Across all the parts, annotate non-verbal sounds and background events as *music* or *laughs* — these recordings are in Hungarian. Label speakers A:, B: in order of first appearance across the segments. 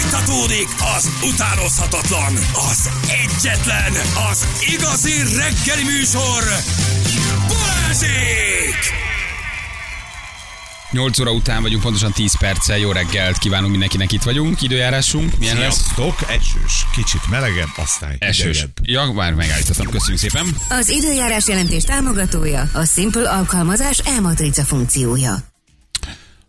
A: Fújtatódik az utánozhatatlan, az egyetlen, az igazi reggeli műsor, Balázsék!
B: 8 óra után vagyunk, pontosan 10 perccel. Jó reggelt kívánunk mindenkinek, itt vagyunk. Időjárásunk milyen lesz?
C: Sziasztok, esős, kicsit melegebb, aztán
B: Esős.
C: hidegebb.
B: Ja, már megállítottam. Köszönjük szépen.
D: Az időjárás jelentés támogatója a Simple alkalmazás elmatrica funkciója.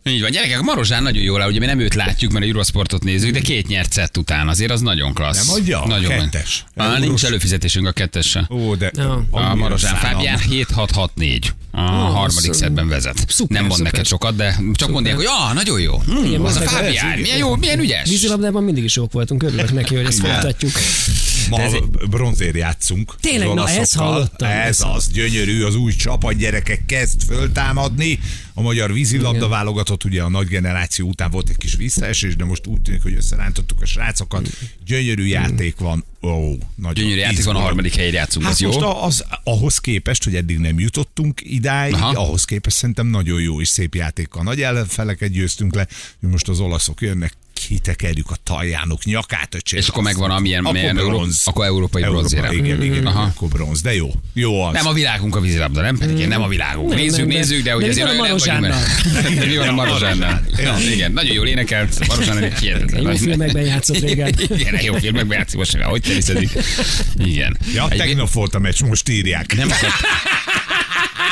B: Így van, gyerekek, Marozsán nagyon jól áll, ugye mi nem őt látjuk, mert a Eurosportot nézzük, de két nyert szett után azért az nagyon klassz.
C: Nem adja?
B: Nagyon.
C: Kettes.
B: Á,
C: Eurós.
B: nincs előfizetésünk a kettesse.
C: Ó, de...
B: A
C: annyira
B: Marozsán
C: szánom.
B: Fábián 7664. A harmadik
E: az,
B: szetben vezet.
E: szuper,
B: nem mond
E: szuper.
B: neked sokat, de csak mondják, hogy ja, nagyon jó. Hmm, az a Fábián, milyen jó, milyen ügyes.
E: Vízilabdában mindig is jók voltunk, örülök neki, hogy ezt
C: Igen.
E: folytatjuk.
C: Ma
B: ez
C: bronzér játszunk.
E: Tényleg,
C: az
E: na, ezt
C: olaszokkal.
E: hallottam.
C: Ez
E: Ezt
C: az, gyönyörű, az új csapat gyerekek kezd föltámadni. A magyar vízilabda
E: Igen.
C: válogatott, ugye a nagy generáció után volt egy kis visszaesés, de most úgy tűnik, hogy összerántottuk a srácokat. Gyönyörű játék van. Ó, nagyon
B: Gyönyörű játék van, a
C: izgulok.
B: harmadik helyre játszunk,
C: Hát
B: az jó.
C: most a- az, ahhoz képest, hogy eddig nem jutottunk idáig,
B: Aha.
C: Aha. ahhoz képest szerintem nagyon jó és szép játékkal. Nagy ellenfeleket győztünk le, most az olaszok jönnek, kitekerjük a taljánok nyakát, öcsém.
B: És akkor megvan, amilyen,
C: Akkor
B: amilyen euró,
C: bronz.
B: akkor európai
C: Európa,
B: bronzérem. Mhm.
C: Igen, igen,
B: Aha.
C: akkor bronz, de jó. Jó az.
B: Nem a világunk a vízilabda, nem pedig én, nem a világunk.
E: Nem,
B: nézzük,
E: nem, de-
B: nézzük, de hogy
E: de
B: azért
E: mi van a
B: nagyon nem vagyunk benne. De *laughs* Mi van a Marozsánnal?
C: Ja.
B: Ja, Igen, nagyon jól énekelt, Marozsán egy hihetetlen.
E: Jó
B: nagy-
E: filmekben játszott régen.
B: *laughs* Igen, jó filmekben játszik most, mivel hogy teniszedik. Igen.
C: Ja,
B: Egy-
C: tegnap volt a meccs, most írják.
B: Nem akart...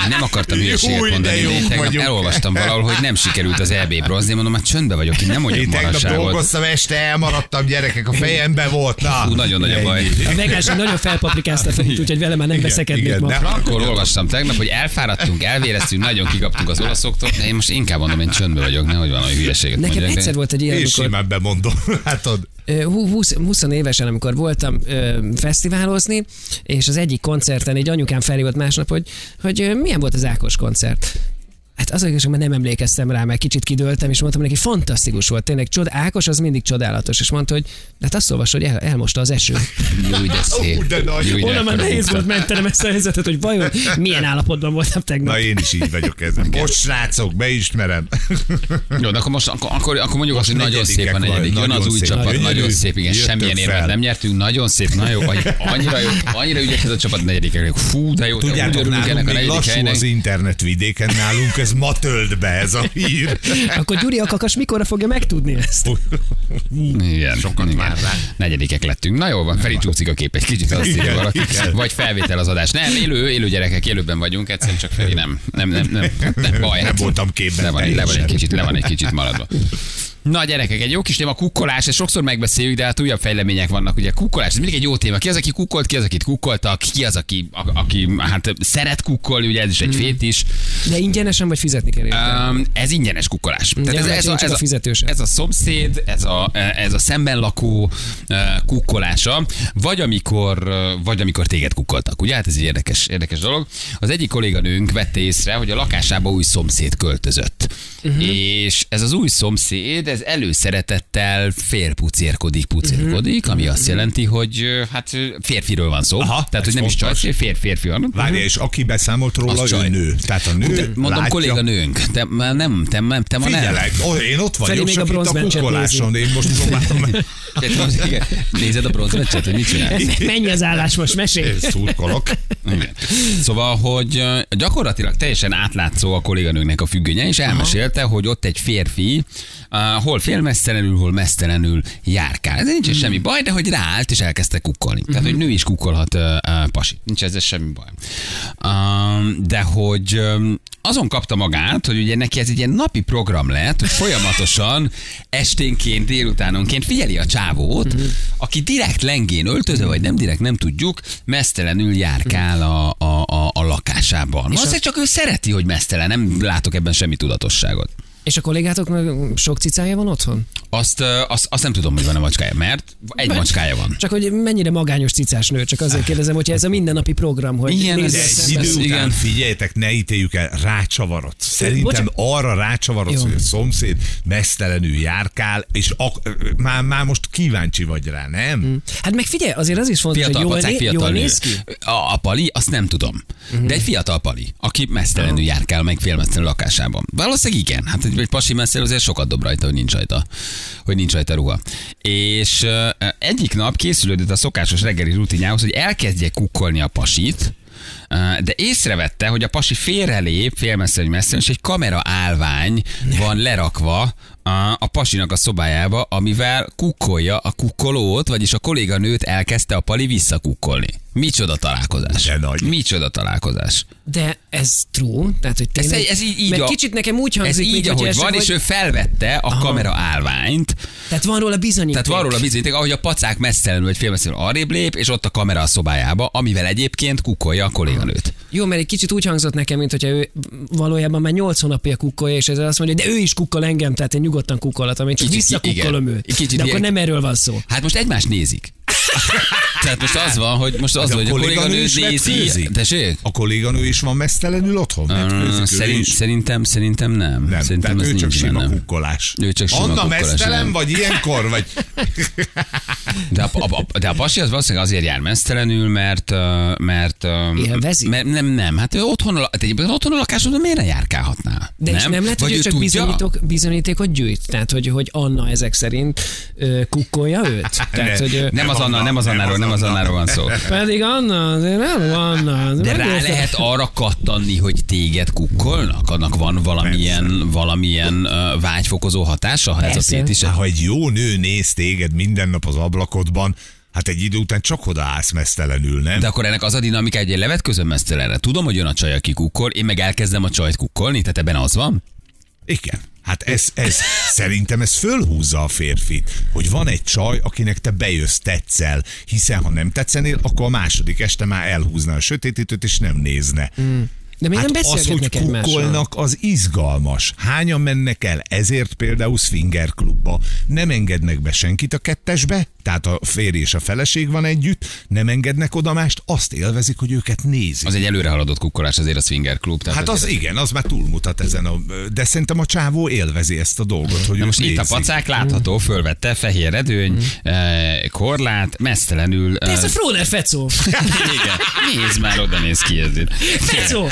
B: Nem akartam hülyeséget
C: Új, de
B: mondani, de
C: jók
B: én tegnap
C: vagyunk.
B: elolvastam valahol, hogy nem sikerült az EB bronzni, mondom, hát csöndbe vagyok, én nem mondjuk
C: Én tegnap
B: marasságot.
C: dolgoztam este, elmaradtam gyerekek, a fejembe volt. Na,
B: Ú, nagyon nagy a baj.
C: Ennyi.
E: A Vegás nagyon felpaprikázta fel, úgyhogy vele már nem
C: Igen,
E: veszekednék
C: igen,
E: ma.
C: de-
B: Akkor olvastam tegnap, hogy elfáradtunk, elvéreztünk, nagyon kikaptunk az olaszoktól, de én most inkább mondom, én csöndbe vagyok, nehogy valami hülyeséget
E: Nekem
B: mondjak. de-
E: egyszer volt egy ilyen,
C: Én
E: amikor
C: simán bemondom, *laughs* Hát látod.
E: ö, hú- 20, 20 évesen, amikor voltam ö, fesztiválozni, és az egyik koncerten egy anyukám felhívott másnap, hogy, hogy ö, milyen volt az Ákos koncert. Hát az igazság, mert nem emlékeztem rá, mert kicsit kidőltem, és mondtam neki, fantasztikus volt, tényleg csod, Ákos az mindig csodálatos, és mondta, hogy hát azt olvas, hogy el, elmosta az eső.
B: Júj, de
C: Ú,
B: szép.
C: de nagy.
B: Júj, de
E: Onnan már
B: ekkora
E: nehéz
B: bukta.
E: volt mentenem ezt a helyzetet, hogy vajon milyen állapotban voltam tegnap.
C: Na én is így vagyok ezen. Most srácok, beismerem.
B: Jó, de akkor most akkor, akkor, akkor mondjuk azt, hogy nagyon
C: negyedikek
B: szép a negyedik.
C: vagy,
B: Jön az
C: nagyon
B: új
C: szép,
B: csapat,
C: gyönyörű.
B: nagyon szép, igen,
C: Jöttök
B: semmilyen érvet
C: fel.
B: nem nyertünk, nagyon szép, nagyon jó, vagy annyira jó, annyira ügyes ez a csapat negyedik elég. Fú, de jó, de úgy
C: Tudjátok,
B: örülünk
C: nálunk
B: ennek a
C: még
B: negyedik
C: lassú
B: helynek.
C: az internet vidéken, nálunk ez ma tölt be ez a hír.
E: Akkor Gyuri a kakas mikorra fogja megtudni ezt?
B: Igen,
C: Sokat
B: igen.
C: vár rá.
B: Negyedikek lettünk. Na jó van, felítsúszik a kép egy kicsit, azt írja
C: Igen,
B: valaki.
C: igen.
B: Vagy felvétel az adás. Nem, élő, élő gyerekek, élőben vagyunk, egyszerűen csak Feri nem. Nem, nem, nem, nem baj.
C: Nem
B: hát
C: voltam képben
B: Le van, le van egy
C: teljesen.
B: kicsit, le van egy kicsit maradva. Na gyerekek, egy jó kis téma, kukkolás, ezt sokszor megbeszéljük, de hát újabb fejlemények vannak. Ugye kukkolás, ez mindig egy jó téma. Ki az, aki kukkolt, ki az, akit kukkoltak, ki az, aki, a, aki hát szeret kukkolni, ugye ez is
C: Hmm.
B: egy fétis.
E: De ingyenesen vagy fizetni kell érte?
B: Um, ez ingyenes kukkolás. Tehát
E: Ja,
B: ez,
E: hát
B: ez,
E: én
B: a,
E: csak
B: ez,
E: a
B: a,
E: fizetős.
B: ez a szomszéd, ez a, ez a szemben lakó eh, kukkolása, vagy amikor, eh, vagy amikor téged kukkoltak. Ugye? Hát ez egy érdekes, érdekes dolog. Az egyik kolléganőnk vette észre, hogy a lakásába új szomszéd költözött.
C: Mhm.
B: Uh-huh. És ez az új szomszéd, ez előszeretettel félpucérkodik, pucérkodik, ami azt jelenti, hogy eh, hát férfiről van szó.
C: Mhm. Aha,
B: Tehát, hogy
C: ez
B: nem is
C: fontos.
B: csaj, fér, férfi van.
C: Várja, és aki beszámolt róla,
B: Az
C: ő
B: csaj.
C: nő. Tehát a nő
B: Te, mondom,
C: látja.
B: kolléganőnk, te már nem, te, nem, te ma nem.
C: Figyelek, ó, én ott
E: Feri
C: vagyok,
E: még
C: csak
E: a
C: itt a
E: bronzmeccset
C: kukkoláson, én most próbálom.
B: Tehát az- igen. Nézed a bronzmeccset, hogy mit csinál?
E: Mennyi az állás most, mesélj!
C: Én szurkolok.
B: Igen. Szóval, hogy ö, gyakorlatilag teljesen átlátszó a kolléganőnknek a függönye, és elmesélte, hogy ott egy férfi ö, hol félmesztelenül, hol mesztelenül járkál. Ez nincs semmi baj, de hogy ráállt, és elkezdte kukkolni. Tehát, hogy nő is kukkolhat ö, ö, pasi. Nincs ezzel semmi baj. Ö, De hogy ö, azon kapta magát, hogy ugye neki ez egy ilyen napi program lett, hogy folyamatosan esténként, délutánonként figyeli a csávót, aki direkt lengén öltözve, vagy nem direkt, nem tudjuk, mesztelenül járkál a, a, a, a lakásában. Valószínűleg csak ő szereti, hogy mesztelen, nem látok ebben semmi tudatosságot.
E: És a kollégátoknak sok cicája van otthon?
B: Azt, ö, azt, azt nem tudom, hogy van a macskája, mert egy macskája van.
E: Csak hogy mennyire magányos cicás nő, csak azért kérdezem, hogy ez a mindennapi program, hogy
B: Igen,
E: nézz
B: ez
C: De
E: a
B: egy
C: egy
E: szembe.
C: idő után,
B: Igen.
C: igen. figyeljetek, ne ítéljük el, rácsavarod. Szerintem
E: Bocsánat.
C: arra rácsavarodsz,
E: Jó.
C: hogy a szomszéd mesztelenül járkál, és ak- már, már most kíváncsi vagy rá, nem?
E: Hát meg figyelj, azért az is fontos,
B: Fiatal
E: hogy jól,
B: pacák,
E: né-
B: fiatal
E: jól
B: nő.
E: néz ki.
B: A, a pali, azt nem tudom. De egy fiatal pali, aki mesztelenül járkál meg félmesztelenül lakásában. Valószínűleg igen. Hát egy, egy pasi messzel azért sokat dob rajta, hogy nincs rajta, hogy nincs rajta ruha. és ö, egyik nap készülődött a szokásos reggeli rutinjához, hogy elkezdje kukkolni a pasit, ö, de észrevette, hogy a pasi félrelép, félmesszen, hogy messzen, és egy kamera állvány van lerakva a, a pasinak a szobájába, amivel kukkolja a kukkolót, vagyis a kolléganőt elkezdte a pali visszakukkolni. Micsoda találkozás.
C: De nagy.
B: Micsoda találkozás.
E: De ez true, tehát hogy
B: Ez,
E: tényleg...
B: ez így, így
E: Mert
B: a,
E: kicsit nekem úgy hangzik,
B: ez így,
E: mint,
B: ahogy van, és ő felvette a
E: Aha.
B: kamera állványt,
E: Tehát van róla bizonyíték.
B: tehát van róla bizonyíték, ahogy a pacák messzelenül vagy félmesszelenül arrébb lép, és ott a kamera a szobájába, amivel egyébként kukolja a kolléganőt.
E: Jó, mert egy kicsit úgy hangzott nekem, mint hogyha ő valójában már 8 hónapja kukkolja, és ezzel azt mondja, hogy de ő is kukkol engem, tehát én nyugodtan kukkolhatom, én csak
B: Kicsit-
E: visszakukkolom
B: igen.
E: őt.
B: Kicsit
E: de akkor
B: ilyen-
E: nem erről van szó.
B: Hát most egymást nézik. Tehát most az van, hogy most az,
C: De
B: van,
C: Hát a
B: hogy a kolléganő
C: kolléganő is
B: nézi.
C: vetkőzik?
B: Tessék?
C: A kolléganő is van mesztelenül otthon? Vetkőzik Hát ő
B: Szerint,
C: is?
B: szerintem, szerintem nem.
C: Nem,
B: szerintem
C: tehát ő csak
B: nincs
C: sima
B: benne.
C: kukkolás.
B: Ő csak sima
C: Anna
B: kukkolás,
C: mesztelen
B: nem.
C: vagy ilyenkor, vagy
B: De a, a, a, de a pasi az valószínűleg azért jár mesztelenül, mert... ö, mert ö,
E: Élvezi?
B: Mert nem, nem. Hát ő otthon, a la- hát egyébként otthon a lakásodban miért ne járkálhatná?
E: De nem, és nem lehet, hogy
B: Vagy
E: ő csak
B: tudja?
E: bizonyítok, bizonyítékot gyűjt. Tehát, hogy, hogy Anna ezek szerint ö, kukkolja
B: *laughs*
E: őt.
C: Ne,
E: Tehát, hogy, ö,
B: Nem az Anna, nem az Annáról, nem az Annáról van szó.
E: Pedig Anna, azért nem Anna.
B: De rá lehet arra kattanni, hogy téged kukkolnak? Annak van valamilyen, valamilyen uh, vágyfokozó hatása, ha ez a
E: Persze.
B: tét is?
C: Hát, ha egy jó nő néz téged minden nap az ablakodban, hát egy idő után csak odaállsz mesztelenül, nem?
B: De akkor ennek az a dinamika, hogy én levetközöm mesztelenre. Tudom, hogy jön a csaj, aki kukkol, én meg elkezdem a csajt kukkolni, tehát ebben az van?
C: Igen. Hát ez, ez, szerintem ez fölhúzza a férfit, hogy van egy csaj, akinek te bejössz, tetszel, hiszen ha nem tetszenél, akkor a második este már elhúzna a sötétítőt, és nem nézne. Mm.
E: De még nem
C: Hát az, hogy
E: beszélgetnek egymással.
C: kukkolnak, az izgalmas. Hányan mennek el? Ezért például Swinger klubba. Nem engednek be senkit a kettesbe, tehát a férj és a feleség van együtt, nem engednek oda mást, azt élvezik, hogy őket nézik.
B: Az egy előre haladott kukkolás azért a swinger klub. Tehát
C: Hát az
B: azért-
C: igen, az már túlmutat ezen a... De szerintem a csávó élvezi ezt a dolgot, hogy
B: Na
C: őt
B: most itt a
C: nézik.
B: pacák
E: Mm.
B: látható, fölvette, fehér edőny, eh, korlát, mesztelenül. eh,
E: Ez Mm. a Fróner Fecó.
B: *laughs* Igen. Nézd már, oda néz ki ez itt.
E: Fecó.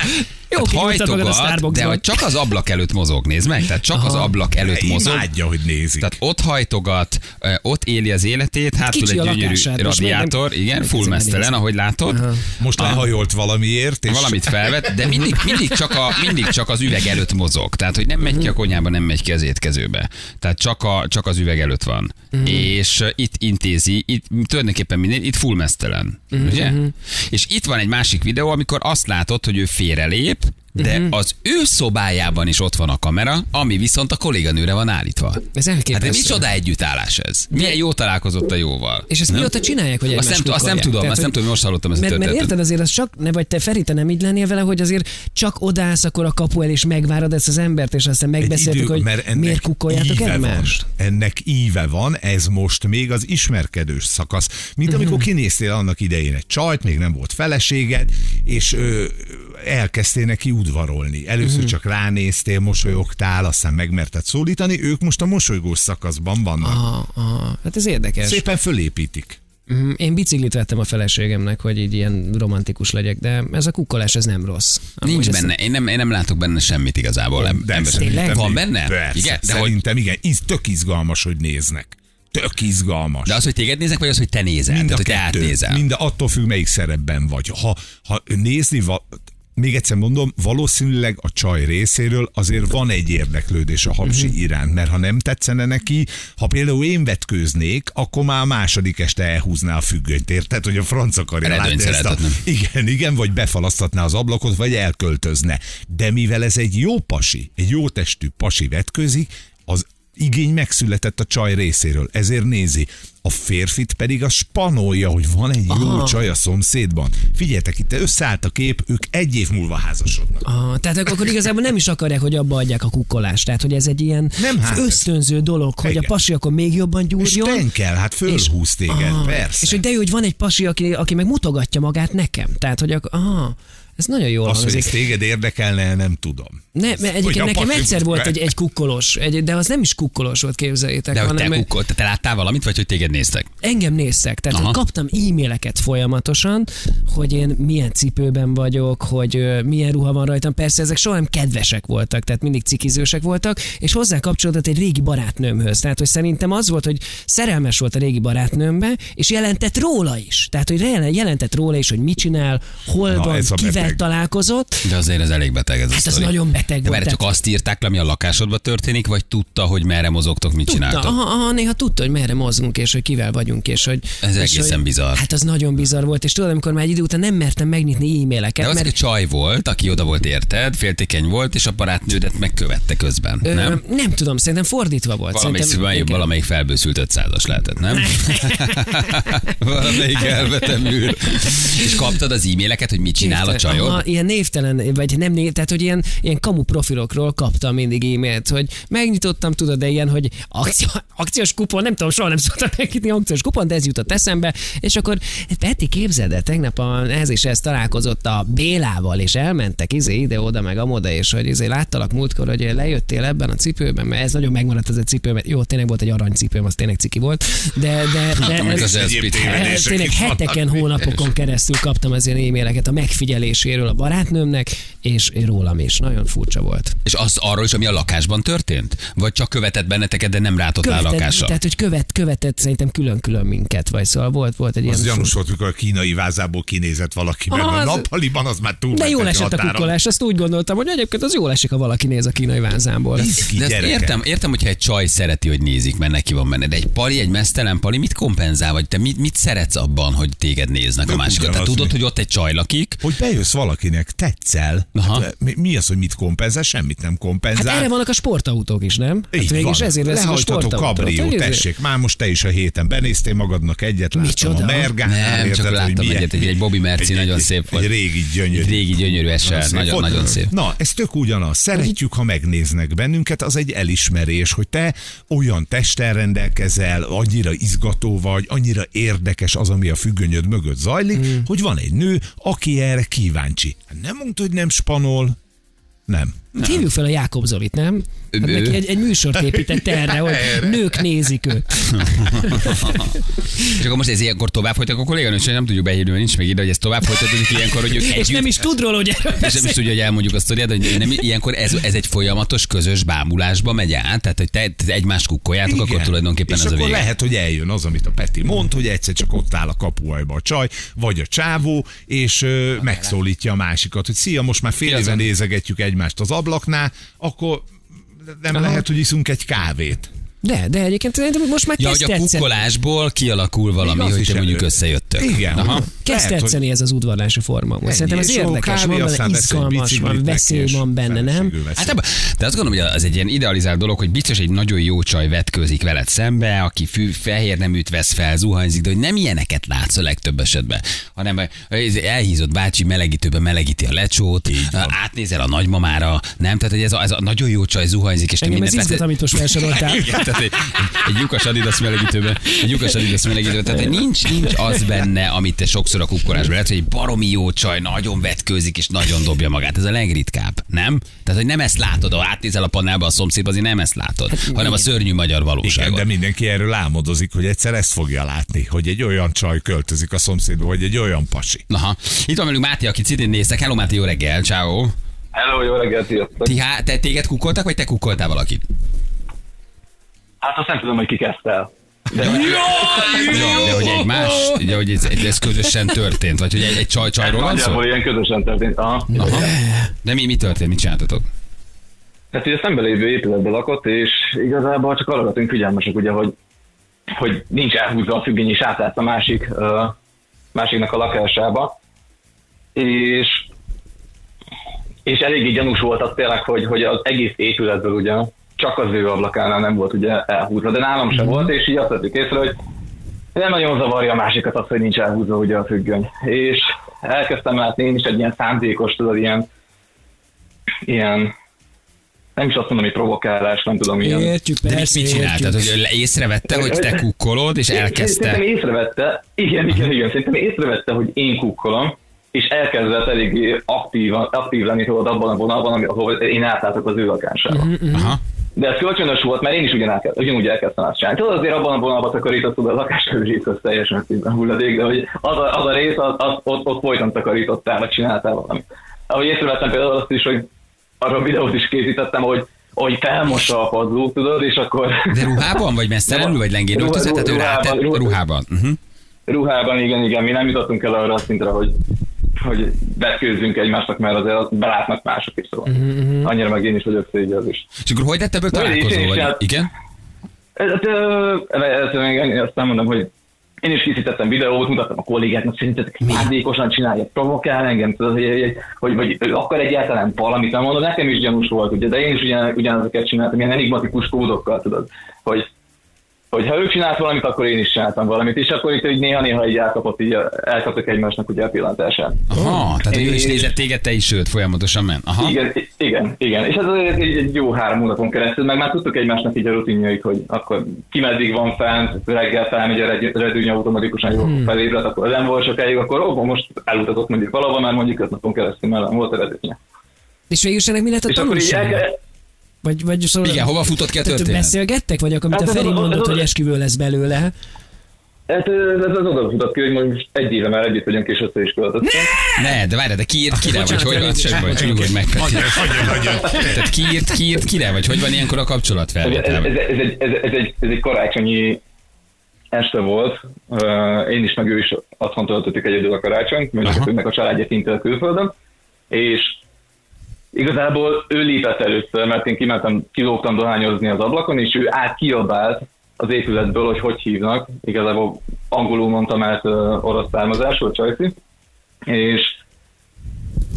E: Jó,
B: Hát
E: hát magad a
B: hajtogat, de
E: Starbucksban.
B: hogy csak az ablak előtt mozog, nézd meg, tehát csak az ablak előtt mozog.
C: Imádja, hogy nézik.
B: Tehát ott hajtogat, ö, ott éli az életét, hátul
E: Kicsi
B: egy
E: a
B: gyönyörű
E: lakását, most meg
B: radiátor,
E: nem-
B: igen,
E: nem
B: full
E: tudom
B: mesztelen,
E: elnézni.
B: ahogy látod,
C: Most lehajolt valamiért, és
B: valamit felvet, de mindig, mindig, csak a, mindig csak az üveg előtt mozog. Tehát, hogy nem megy ki a konyhába, nem megy ki az étkezőbe. Tehát csak, a, csak az üveg előtt van.
E: Mhm.
B: És ö, itt intézi, itt tulajdonképpen minden, itt full mesztelen.
E: Mhm,
B: Ugye? És itt van egy másik videó, amikor azt látod, hogy ő félrelép, de
E: Mhm.
B: az ő szobájában is ott van a kamera, ami viszont a kolléganőre van állítva. Hát
E: Ez
B: de
E: elképesztő.
B: micsoda együttállás ez? Milyen jó találkozott a jóval?
E: És ezt
B: Nem?
E: mióta csinálják, hogy
B: Azt
E: egymást
B: nem, azt nem
E: kukolják?
B: tudom,
E: Tehát,
B: azt nem
E: hogy-
B: tudom, hogy most hallottam ezt a
E: Mert, mert
B: történetet.
E: érted, azért az csak, ne vagy te Feri, te nem így lennél vele, hogy azért csak odállsz akkor a kapu el, és megvárod ezt az embert, és aztán megbeszéltük, hogy miért kukoljátok
C: íve
E: egymást.
C: Van. Ennek íve van, ez most még az ismerkedős szakasz. Mint
B: Mhm.
C: amikor kinéztél annak idején egy csajt, még nem volt feleséged, és ö, elkezdtél neki udvarolni. Először
B: Mhm.
C: csak ránéztél, mosolyogtál, aztán megmerted szólítani, ők most a mosolygós szakaszban vannak.
B: Ah.
E: Aha, aha. Hát ez érdekes.
C: Szépen fölépítik.
E: Mm, Én biciklit vettem a feleségemnek, hogy így ilyen romantikus legyek, de ez a kukkolás, ez nem rossz. Amúgy
B: Nincs
E: ez-
B: benne, én nem, én nem látok benne semmit igazából. Eb-
C: De
B: ebben.
C: szerintem
B: Van
C: még-
B: benne?
C: Persze,
B: Igen, de, hogy,
C: szerintem igen. Íz, tök izgalmas, hogy néznek. Tök izgalmas.
B: de az, hogy téged néznek, vagy az, hogy te nézel?
C: Mind a
B: tehát, hogy te
C: kettő.
B: átnézel.
C: Mind a, attól függ, melyik szerepben vagy. Ha, ha nézni, va, még egyszer mondom, valószínűleg a csaj részéről azért van egy érdeklődés a hapsi
B: Mhm.
C: iránt, mert ha nem tetszene neki, ha például én vetkőznék, akkor már a második este elhúzná a függönyt, érted, hogy a franc akarja
B: Eredményt
C: látni ezt a,
B: szeretetlen.
C: igen, igen, vagy befalasztatná az ablakot, vagy elköltözne. De mivel ez egy jó pasi, egy jó testű pasi vetközik, az igény megszületett a csaj részéről, ezért nézi. A férfit pedig a spanolja, hogy van egy jó Aha. csaj a szomszédban. Figyeljetek, itt összeállt a kép, ők egy év múlva házasodnak.
E: Aha, tehát ak- akkor igazából nem is akarják, hogy abba adják a kukkolást. Tehát, hogy ez egy ilyen
C: Nem, hát ez-
E: ösztönző dolog, hogy
C: Igen.
E: a pasi akkor még jobban
C: És
E: gyúrjon.
C: tenkel, hát fölhúz téged,
E: Aha.
C: persze.
E: És hogy de jó, hogy van egy pasi, aki, aki meg mutogatja magát nekem. Tehát, hogy ak- aha, Ez nagyon jól
C: Az, hogy
E: hangzik.
C: ez téged érdekelne, nem tudom.
E: Ne, mert egyébként
C: Olyan
E: nekem
C: pasi
E: egyszer
C: volt
E: volt
C: benne.
E: egy, egy kukkolós, egy, de az nem is kukkolós volt, képzeljétek.
B: De hogy te,
E: hanem egy-
B: kukkol, te, te láttál valamit, vagy hogy téged néztek?
E: engem néztek, tehát
B: Aha.
E: Aha. kaptam e-maileket folyamatosan, hogy én milyen cipőben vagyok, hogy ö, milyen ruha van rajtam. Persze ezek soha nem kedvesek voltak, tehát mindig cikizősek voltak, és hozzá kapcsolódott egy régi barátnőmhöz. Tehát, hogy szerintem az volt, hogy szerelmes volt a régi barátnőmbe, és jelentett róla is. Tehát, hogy jelen- jelentett róla is, hogy mit csinál, hol
C: Na,
E: van,
C: ez a
E: kivel
C: beteg.
E: találkozott.
B: De azért ez elég beteg ez a
E: Hát az
B: sztori.
E: nagyon beteg
B: De
E: volt.
B: várj,
E: tehát-
B: csak azt írták le, ami a lakásodban történik, vagy tudta, hogy merre mozogtok, mit
E: Tudta,
B: csináltok?
E: aha, aha, néha tudta, hogy merre mozgunk, és hogy kivel vagyunk, és hogy...
B: Ez
E: és
B: egészen
E: hogy,
B: bizarr.
E: Hát az nagyon bizarr volt, és tudod, amikor már egy idő után nem mertem megnyitni e-maileket,
B: De az egy
E: mert...
B: csaj volt, aki oda volt érted, féltékeny volt, és a barátnődet megkövette közben,
E: ö,
B: nem?
E: nem tudom, szerintem fordítva volt.
B: Valamelyik,
E: Hát szerintem,
B: szerintem...
E: igen.
B: valamelyik felbőszült 500-as lehetett,
E: *laughs*
B: nem?
E: Hát-
B: valamelyik elvetemű. És kaptad az e-maileket, hogy mit csinál a
E: Képtelen.
B: csajod?
E: Aha, ilyen névtelen, vagy nem név, tehát hogy ilyen, ilyen kamu profilokról kaptam mindig e-mailt, hogy megnyitottam, tudod, de ilyen, hogy akció, akciós kupon, nem tudom, soha nem szoktam megnyitni akciós kupon, de ez jutott eszembe, és akkor Peti képzeld el, tegnap a, ez és ez találkozott a Bélával, és elmentek izé ide-oda, meg amoda, és hogy izé láttalak múltkor, hogy lejöttél ebben a cipőben, mert ez nagyon megmaradt ez a cipő, mert jó, tényleg volt egy aranycipőm, az tényleg ciki volt, de, de, de
B: Hát, Amit az
C: egyéb
B: SPT.
C: tévedés.
E: ez
C: kérdések
E: tényleg
C: is vannak.
E: heteken, hónapokon keresztül kaptam az ilyen e-maileket a megfigyeléséről a barátnőmnek, és rólam is. Nagyon furcsa volt.
B: És az arról is, ami a lakásban történt? Vagy csak követett benneteket, de nem rátott rá a lakásra?
E: tehát, hogy követ, követett szerintem külön-külön minket, vagy szóval volt, volt egy
C: Az
E: ilyen...
C: gyanús volt, mikor a kínai vázából kinézett valaki, mert
E: Az-
C: a nappaliban az már túl
E: De jól
C: mentett
E: esett a
C: határon.
E: kukkolás, azt úgy gondoltam, hogy egyébként az jól esik, ha valaki néz a kínai vázából.
C: Ki
B: De ezt
C: gyerekek?
B: értem, értem, hogyha egy csaj szereti, hogy nézik, mert neki van benne. De egy pali, egy mesztelen pali mit kompenzál? Vagy te mit, mit szeretsz abban, hogy téged néznek a
C: De
B: másikat? Te
C: ugyanaz,
B: tudod,
C: mi?
B: hogy ott egy csaj lakik,
C: Hogy bejössz valakinek, tetszel.
B: Aha.
C: Hát, mi, mi az, hogy mit kompenzál? Semmit nem
E: Hát
C: kompenzál.
E: erre vannak a sportautók is, nem? Hát
C: Így
E: végül
C: van.
E: is ezért veszik a Hát
C: Lehajtató
E: sportautót.
C: kabrió,
E: Ugye?
C: tessék, már most te is a héten benéztél magadnak egyet, láttam
E: Micsoda?
C: a mergán,
B: Nem, csak láttam egyet, egy- egy Bobby Merci nagyon szép volt.
C: Egy régi gyönyörű.
B: Egy régi gyönyörű SL,
C: szép
B: nagyon-
C: volt.
B: nagyon szép.
C: Na, ez tök ugyanaz. Szeretjük, ha megnéznek bennünket, az egy elismerés, hogy te olyan testtel rendelkezel, annyira izgató vagy, annyira érdekes az, ami a függönyöd mögött zajlik, hogy van egy nő, aki erre kíváncsi. Nem mondta, hogy nem spanol, nem.
E: hát Hívjuk fel a Jákob Zolit, nem? Hát
B: Ő-
E: neki egy, egy műsort épített erre,
C: *laughs*
E: hogy nők nézik őt.
B: és akkor most ez ilyenkor tovább folytatok a kolléganőt, nem tudjuk behívni, mert nincs még ide, hogy ez tovább folytatódik ilyenkor, hogy ők együtt,
E: És nem is tud róla, hogy erről
B: és nem is
E: beszél.
B: tudja, hogy elmondjuk a sztoriát, hogy nem, ilyenkor ez, ez egy folyamatos közös bámulásba megy át, tehát hogy te, te egymást kukkoljátok, Igen. akkor tulajdonképpen
C: és
B: ez
C: akkor
B: a vége.
C: lehet, hogy eljön az, amit a Peti mond, hogy egyszer csak ott áll a kapuajba a csaj, vagy a csávó, és ö, megszólítja a másikat, hogy szia, most már
B: Ki
C: fél
B: az
C: éve
B: a-
C: nézegetjük egymást az ablaknál, akkor nem Aha. lehet, hogy iszunk egy kávét.
E: De, de egyébként szerintem most már
B: Ja,
E: kezd
B: hogy a
E: tetszeni.
B: kukkolásból kialakul valami,
C: Még az
B: hogy
C: is
B: te mondjuk
C: elő.
B: összejöttök.
C: Igen,
B: Aha.
E: Kezd
C: Lehet, hogy-
E: tetszeni ez az udvarlási forma. most. Szerintem ez
C: és jó
E: érdekes,
C: kávé,
E: van benne
C: aztán vesz egy
E: izgalmas,
C: biciklit
E: van
C: neki,
E: veszély
C: és
E: van benne, nem?
C: feleségül veszi.
B: Hát ebben, de azt gondolom, hogy az egy ilyen idealizált dolog, hogy biztos egy nagyon jó csaj vetkőzik veled szembe, aki fű, fehér neműt vesz fel, zuhanyzik, de hogy nem ilyeneket látsz a legtöbb esetben, hanem ez elhízott bácsi melegítőbe melegíti a lecsót, átnézel a nagymamára, nem? Tehát, hogy ez a, ez a nagyon jó csaj zuhanyzik, és te
E: Engem ez
B: mindent veszel-
E: izgat, amit most felsoroltál.
B: *laughs* Igen, tehát egy, egy lyukas adidas melegítőben, egy lyukas adidas melegítőben, tehát hogy nincs, nincs az benne, amit te sokszor a kukkolásban lehet, hogy egy baromi jó csaj nagyon vetkőzik és nagyon dobja magát. Ez a legritkább, nem? Tehát, hogy nem ezt látod, ha átnézel a panelba a szomszédba, azért nem ezt látod, hanem a szörnyű magyar
C: Igen,
B: valóságot.
C: de mindenki erről álmodozik, hogy egyszer ezt fogja látni, hogy egy olyan csaj költözik a szomszédba, vagy egy olyan pasi.
B: Aha. Itt van velünk Máté, aki citén néztek. Hello Máté, jó reggel, ciao.
F: Hello, jó reggelt, sziasztok!
B: Ti, há- te téged kukoltak, vagy te kukoltál valakit?
F: Hát azt nem tudom, hogy ki kezdte el.
B: Ja, de hogy egymás, de hogy ez, ez közösen történt, vagy hogy egy, egy csaj csajról van szó?
F: Nagyjából ilyen közösen történt. Aha.
B: Aha. De mi, mi történt, mit csináltatok?
F: Hát ugye szembe lévő épületben lakott, és igazából csak arra lettünk figyelmesek, ugye, hogy, hogy nincs elhúzva a függény, és átlátsz a másik, ö, másiknak a lakásába. És, és eléggé gyanús volt az tényleg, hogy, hogy az egész épületből ugye csak az ő ablakánál nem volt ugye elhúzva, de nálam sem volt, és így azt vettük észre, hogy nem nagyon zavarja a másikat az, hogy nincs elhúzva ugye a függöny. És elkezdtem látni én is egy ilyen szándékos, tudod, ilyen, ilyen nem is azt mondom, hogy provokálás, nem tudom, ilyen.
E: Értjük,
B: De mit,
E: persze,
B: mit csináltad?
E: értjük.
B: Hogy le- észrevette, hogy te kukkolod, és
F: Én- Szerintem
B: elkezdte.
F: észrevette, igen, igen, igen, szerintem észrevette, hogy én kukkolom, és elkezdett elég aktív, aktív lenni tudod abban a vonalban, ami, ahol én átlátok az ő lakásába.
B: Aha.
F: De ez kölcsönös volt, mert én is ugyan elkezd, ugyanúgy elkezdtem azt csinálni. Tudod, azért abban a vonalban takarítottad a lakást, hogy részt az teljesen szintben hulladék, de hogy az a, az a rész, az, az, ott, ott folyton takarítottál, vagy csináltál valamit. Ahogy észrevettem például azt is, hogy arra videót is készítettem, hogy hogy felmossa a padlót, tudod, és akkor...
B: De ruhában, vagy mesztelenül, vagy lengén
F: Ruha-
B: öltözve? Tehát ő
F: ruhában,
B: rátett
F: ruha-
B: ruhában. Uh-huh.
F: *laughs* Ruhában, igen, igen, mi nem jutottunk el arra a szintre, hogy, hogy vetkőzzünk egymásnak, mert azért azt belátnak mások is, szóval.
B: Mhm,
F: Annyira meg én is vagyok szégyen az is.
B: És akkor hogy lett ebből
F: Na, és
B: találkozó?
F: én is
B: Vagy?
F: hát-
B: Igen?
F: Ez, ö, ez, még annyi, azt nem mondom, hogy én is készítettem videót, mutattam a kollégáknak, szerintetek szándékosan csinálja, provokál engem, tudod, hogy, hogy, hogy, hogy ő akar egyáltalán valamit, nem mondom, nekem is gyanús volt, ugye, de én is ugyan, ugyanazokat csináltam, ilyen enigmatikus kódokkal, tudod, hogy hogy ha ő csinált valamit, akkor én is csináltam valamit, és akkor itt hogy néha-néha így elkapott, így elkaptak egymásnak ugye a pillantását.
B: Aha, tehát hogy ő is
F: És-
B: nézett téged, te is őt folyamatosan ment. Aha.
F: Igen, i- igen, igen. És ez azért egy, egy jó három hónapon keresztül, meg már tudtuk egymásnak így a rutinjaik, hogy akkor ki meddig van fent, reggel felmegy a regy- redőny automatikusan, jó hmm. felébred, akkor nem volt sokáig, akkor ó, most elutazott mondjuk valahova, mert mondjuk öt napon keresztül már nem volt eredőnye.
E: És végül is ennek mi lett a
F: És akkor így
E: tanulság?
F: elke-
E: Vagy, vagy szóval...
B: Igen, hova futott ki a
E: Tehát
B: történet?
E: Beszélgettek, vagy akkor, amit a
F: Hát ez
E: Feri
F: az- az-
E: mondott,
F: az-
E: hogy esküvő lesz belőle?
F: ez, ez, ez az oda futott ki, hogy most egy éve már együtt vagyunk, és össze is költöztünk.
B: Ne, de várj, de kiírt, kire vagy,
E: Bocsánat,
B: hogy van,
E: Feri,
B: sem vagy, nyugodj meg. Peti.
C: Hagyja, hagyja, hagyja.
B: Tehát kiírt, kiírt, kire vagy, hogy van ilyenkor a kapcsolat
F: Ez, ez, ez,
B: felvétel?
F: ez, egy, ez, ez, egy, ez egy karácsonyi este volt, Ö, én is, meg ő is otthon töltöttük egyedül a karácsonyt, mert ennek a családja kint a külföldön, és igazából ő lépett először, mert én kimentem, kilógtam dohányozni az ablakon, és ő átkiabált az épületből, hogy hogy hívnak, igazából angolul mondtam át ö, orosz származású, Csajci, és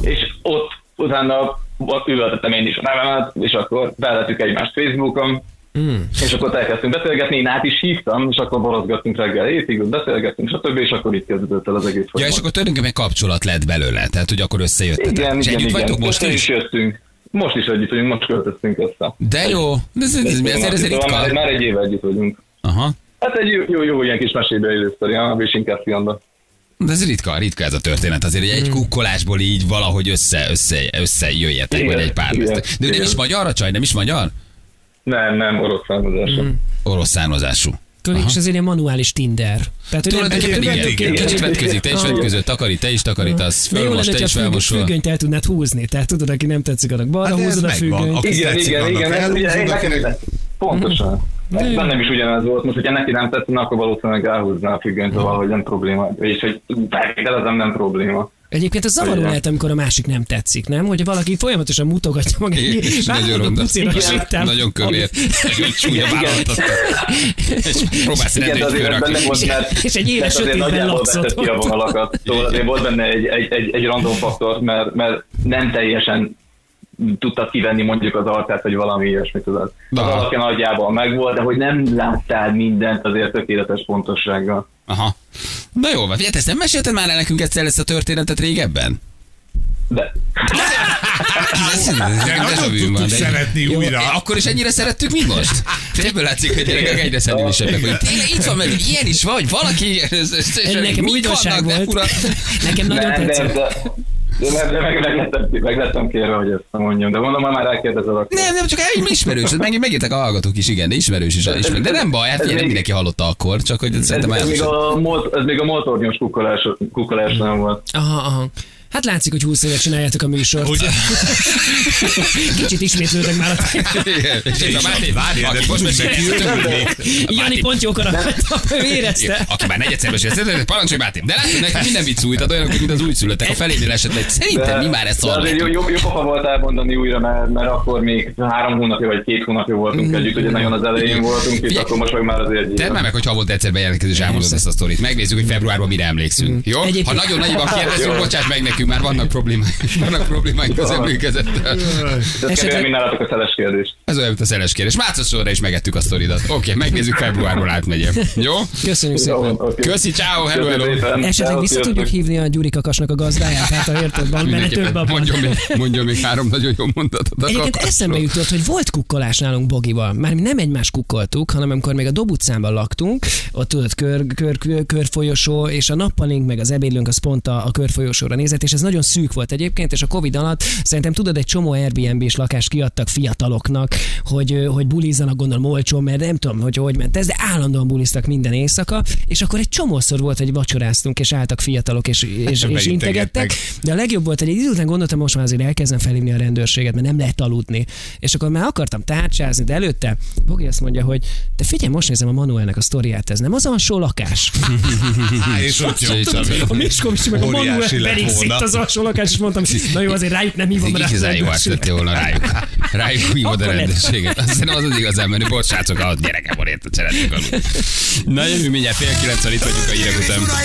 F: és ott utána ott üvöltöttem én is a nevemet, és akkor beletük egymást Facebookon,
B: Hmm.
F: mm. és akkor ott elkezdtünk beszélgetni, én át is hívtam, és akkor borozgattunk reggel hétig, beszélgettünk, stb., és akkor itt kezdődött el az egész
B: Ja, és
F: folyamat.
B: akkor tulajdonképpen kapcsolat lett belőle, tehát hogy akkor összejöttetek.
F: Igen,
B: és
F: igen,
B: együtt
F: igen.
B: vagytok most
F: Össze
B: is?
F: jöttünk. Most is együtt vagyunk, most költöztünk össze.
B: De jó, de ez, ez, ez, ez, ez, ez
F: Szóval már,
B: ritka.
F: már egy éve együtt vagyunk.
B: Aha.
F: Hát egy jó, jó, jó ilyen kis mesébe élősztori, és inkább fiamban.
B: De ez ritka, ritka ez a történet azért, hogy egy
F: Hmm.
B: kukkolásból így valahogy össze, össze, összejöjjetek,
F: Igen,
B: vagy egy pár
F: igen,
B: De ő nem
F: igen.
B: is magyar a csaj, nem is magyar?
F: Nem, nem, orosz származású.
B: Hmm.
F: Mm.
B: Orosz származású.
E: Akkor is azért ilyen manuális Tinder. Tehát, hogy nem-
B: Tulajdonképpen
E: nem-
B: igen,
E: nem-
B: igen.
E: nem-
B: Kicsit vetközik, te is
E: Aha.
B: vetközöl, takarít, te is takarítasz,
E: De jó
B: fölmos,
E: lenne,
B: te is
E: hogyha a függ-
B: felmosol.
E: függönyt el tudnád húzni. Tehát tudod, aki nem tetszik, annak balra
C: Hát ez
E: húzod a
C: megvan.
E: függönyt.
C: Aki
F: Igen,
C: tetszik,
F: igen,
C: annak
F: igen, ez
C: elhúzod,
F: ugye, én nekem
C: akinek-
F: is- Pontosan.
E: De-
F: Mm. Bennem is ugyanez volt, most, hogyha neki nem tetszene, akkor valószínűleg elhúzná a függönyt, szóval, hogy nem probléma. És hogy bevételezem, nem probléma.
E: Egyébként az zavaró
F: Igen.
E: lehet, amikor a másik nem tetszik, nem? Hogyha valaki folyamatosan mutogatja magát,
B: Igen, és nagyon ronda.
E: sétál.
B: Nagyon kövér. Nagyon Súlya vállalatot. És próbálsz
F: Igen, de
B: rendőrt
F: azért
B: fölrakni.
F: benne volt, mert...
E: És egy éles
F: mert azért
E: sötétben
F: nagyjából
E: lapszott
F: veszett ki a
E: ott.
F: vonalakat. Szóval azért volt benne egy, egy, egy, egy random faktor, mert, mert nem teljesen tudtad kivenni mondjuk az arcát, vagy valami ilyesmit tudod. Az
B: Aha.
F: alapja nagyjából megvolt, de hogy nem láttál mindent azért tökéletes pontossággal.
B: Aha. Na jó, van. Figyelj, te ezt nem mesélted már el nekünk egyszer ezt a történetet régebben?
F: De
B: Ez- ez- Hát, ez-
C: De
B: ez- ez-
C: nagyon
B: ez-
C: tudtuk
B: van, de-
C: szeretni
B: Jó,
C: újra.
B: eh, Akkor is ennyire szerettük, mint most? Te Ebből látszik, hogy gyerekek egyre szennyűsebbek vagyunk. Tényleg itt van, mert ilyen is vagy, valaki... ez- ez- ez-
E: Egy nekem
B: mit
E: újdonság
B: vannak, de
E: volt.
B: fura.
E: Nekem nagyon
F: nem, de,
E: tetszett.
F: de, de, de meg, meg, lettem, meg lettem kérve, hogy ezt mondjam, de mondom, ha már elkérdezed, akkor...
B: Nem, nem, csak egy ismerős, ez meg, megírtak a hallgatók is, igen, de ismerős is. Ismer. De nem baj, hát
F: Ez
B: figyelj, nem
F: még-
B: mindenki hallotta akkor, csak hogy
F: Ez,
B: szerintem
F: ez, még
B: elmesed.
F: a, mot- ez még a motornyos kukkolás, kukkolás nem volt.
E: Aha, aha. Hát látszik, hogy 20 éve csináljátok a műsort.
C: Ugye?
E: *laughs* Kicsit ismétlődök már a
B: *laughs* Igen, és ez a Máté,
C: Várjál, de
B: aki most
C: tudunk neki
B: mesél,
C: örülni.
E: Jani pont jókor akartam, ő érezte.
B: aki már negyedszer mesél, parancsolj Máté. De látod, nekünk minden vicc új, tehát olyanok, mint az újszülöttek, a felénél esetleg. Szerintem mi már ezt
F: de azért
B: hallottuk.
F: jó, jó, jó pofa volt elmondani újra, mert, mert akkor még három hónapja vagy két hónapja voltunk együtt, ugye nagyon az elején voltunk, és
B: Figyelj,
F: akkor most meg már azért egy
B: Tedd
F: éve.
B: már meg, hogy havonta egyszer bejelentkezés elmondod ezt a sztorit. Megnézzük, hogy februárban mire emlékszünk. Jó?
E: Mm. Egyébként-
B: Ha nagyon nagyban
E: *laughs*
B: kérdezünk, bocsáss meg nekünk, *laughs* már vannak problémáink. Vannak problémáink az emlékezettel.
F: Ez
E: Esetleg-
F: kevés, mint nálatok a szeles kérdés.
B: Ez olyan, mint a szeles kérdés. Márciusra is megettük a sztoridat. Oké, okay, megnézzük februárban átmegyem. Jó?
E: Köszönjük szépen.
B: Köszi, ciao, hello, hello.
E: Esetleg vissza tudjuk hívni a Gyurikakasnak a gazdáját, hát a érted, van benne több
B: Mindenképpen
E: abban.
B: mondjon még, mondjon még három nagyon jó mondatot. a
E: Egyébként
B: kakasról.
E: eszembe jutott, hogy volt kukkolás nálunk Bogival. Már mi nem egymást kukkoltuk, hanem amikor még a Dobutcánban laktunk, ott tudod, kör, kör, kör, körfolyosó, és a nappalink meg az ebédlőnk az pont a, a körfolyosóra nézett, és ez nagyon szűk volt egyébként, és a Covid alatt szerintem tudod, egy csomó Airbnb-s lakást kiadtak fiataloknak, hogy, ö, hogy bulizzanak, gondolom olcsón, mert nem tudom, hogy hogy ment ez, de állandóan buliztak minden éjszaka, és akkor egy csomószor volt, hogy vacsoráztunk, és álltak fiatalok, és, és, és
C: Beintegettek.
E: integettek, de a legjobb volt, hogy egy idő után gondoltam, most már azért elkezdem felhívni a rendőrséget, mert nem lehet aludni. És akkor már akartam tárcsázni, de előtte Bogi azt mondja, hogy te figyelj, most nézem a Manuelnek a sztoriát, ez nem az
C: *laughs*
E: alsó lakás.
B: Mhm.
C: Á, és ott nyomtam.
E: A Miskovics meg a
C: Óriási
E: Manuel pedig
C: lett
E: szint
C: volna.
E: az alsó lakás, és mondtam, na jó, azért rájuk nem hívom rá. a
B: Igazán jó
E: rendőrséget.
B: átlettél volna rájuk. Rájuk hívod a
E: Akkor lett.
B: rendőrséget. Azt hiszem az az igazán menő. Bocs, srácok, a gyerekem van érte, szeretnék aludni. Na jövő mindjárt fél kilenc, itt vagyunk a hírek után.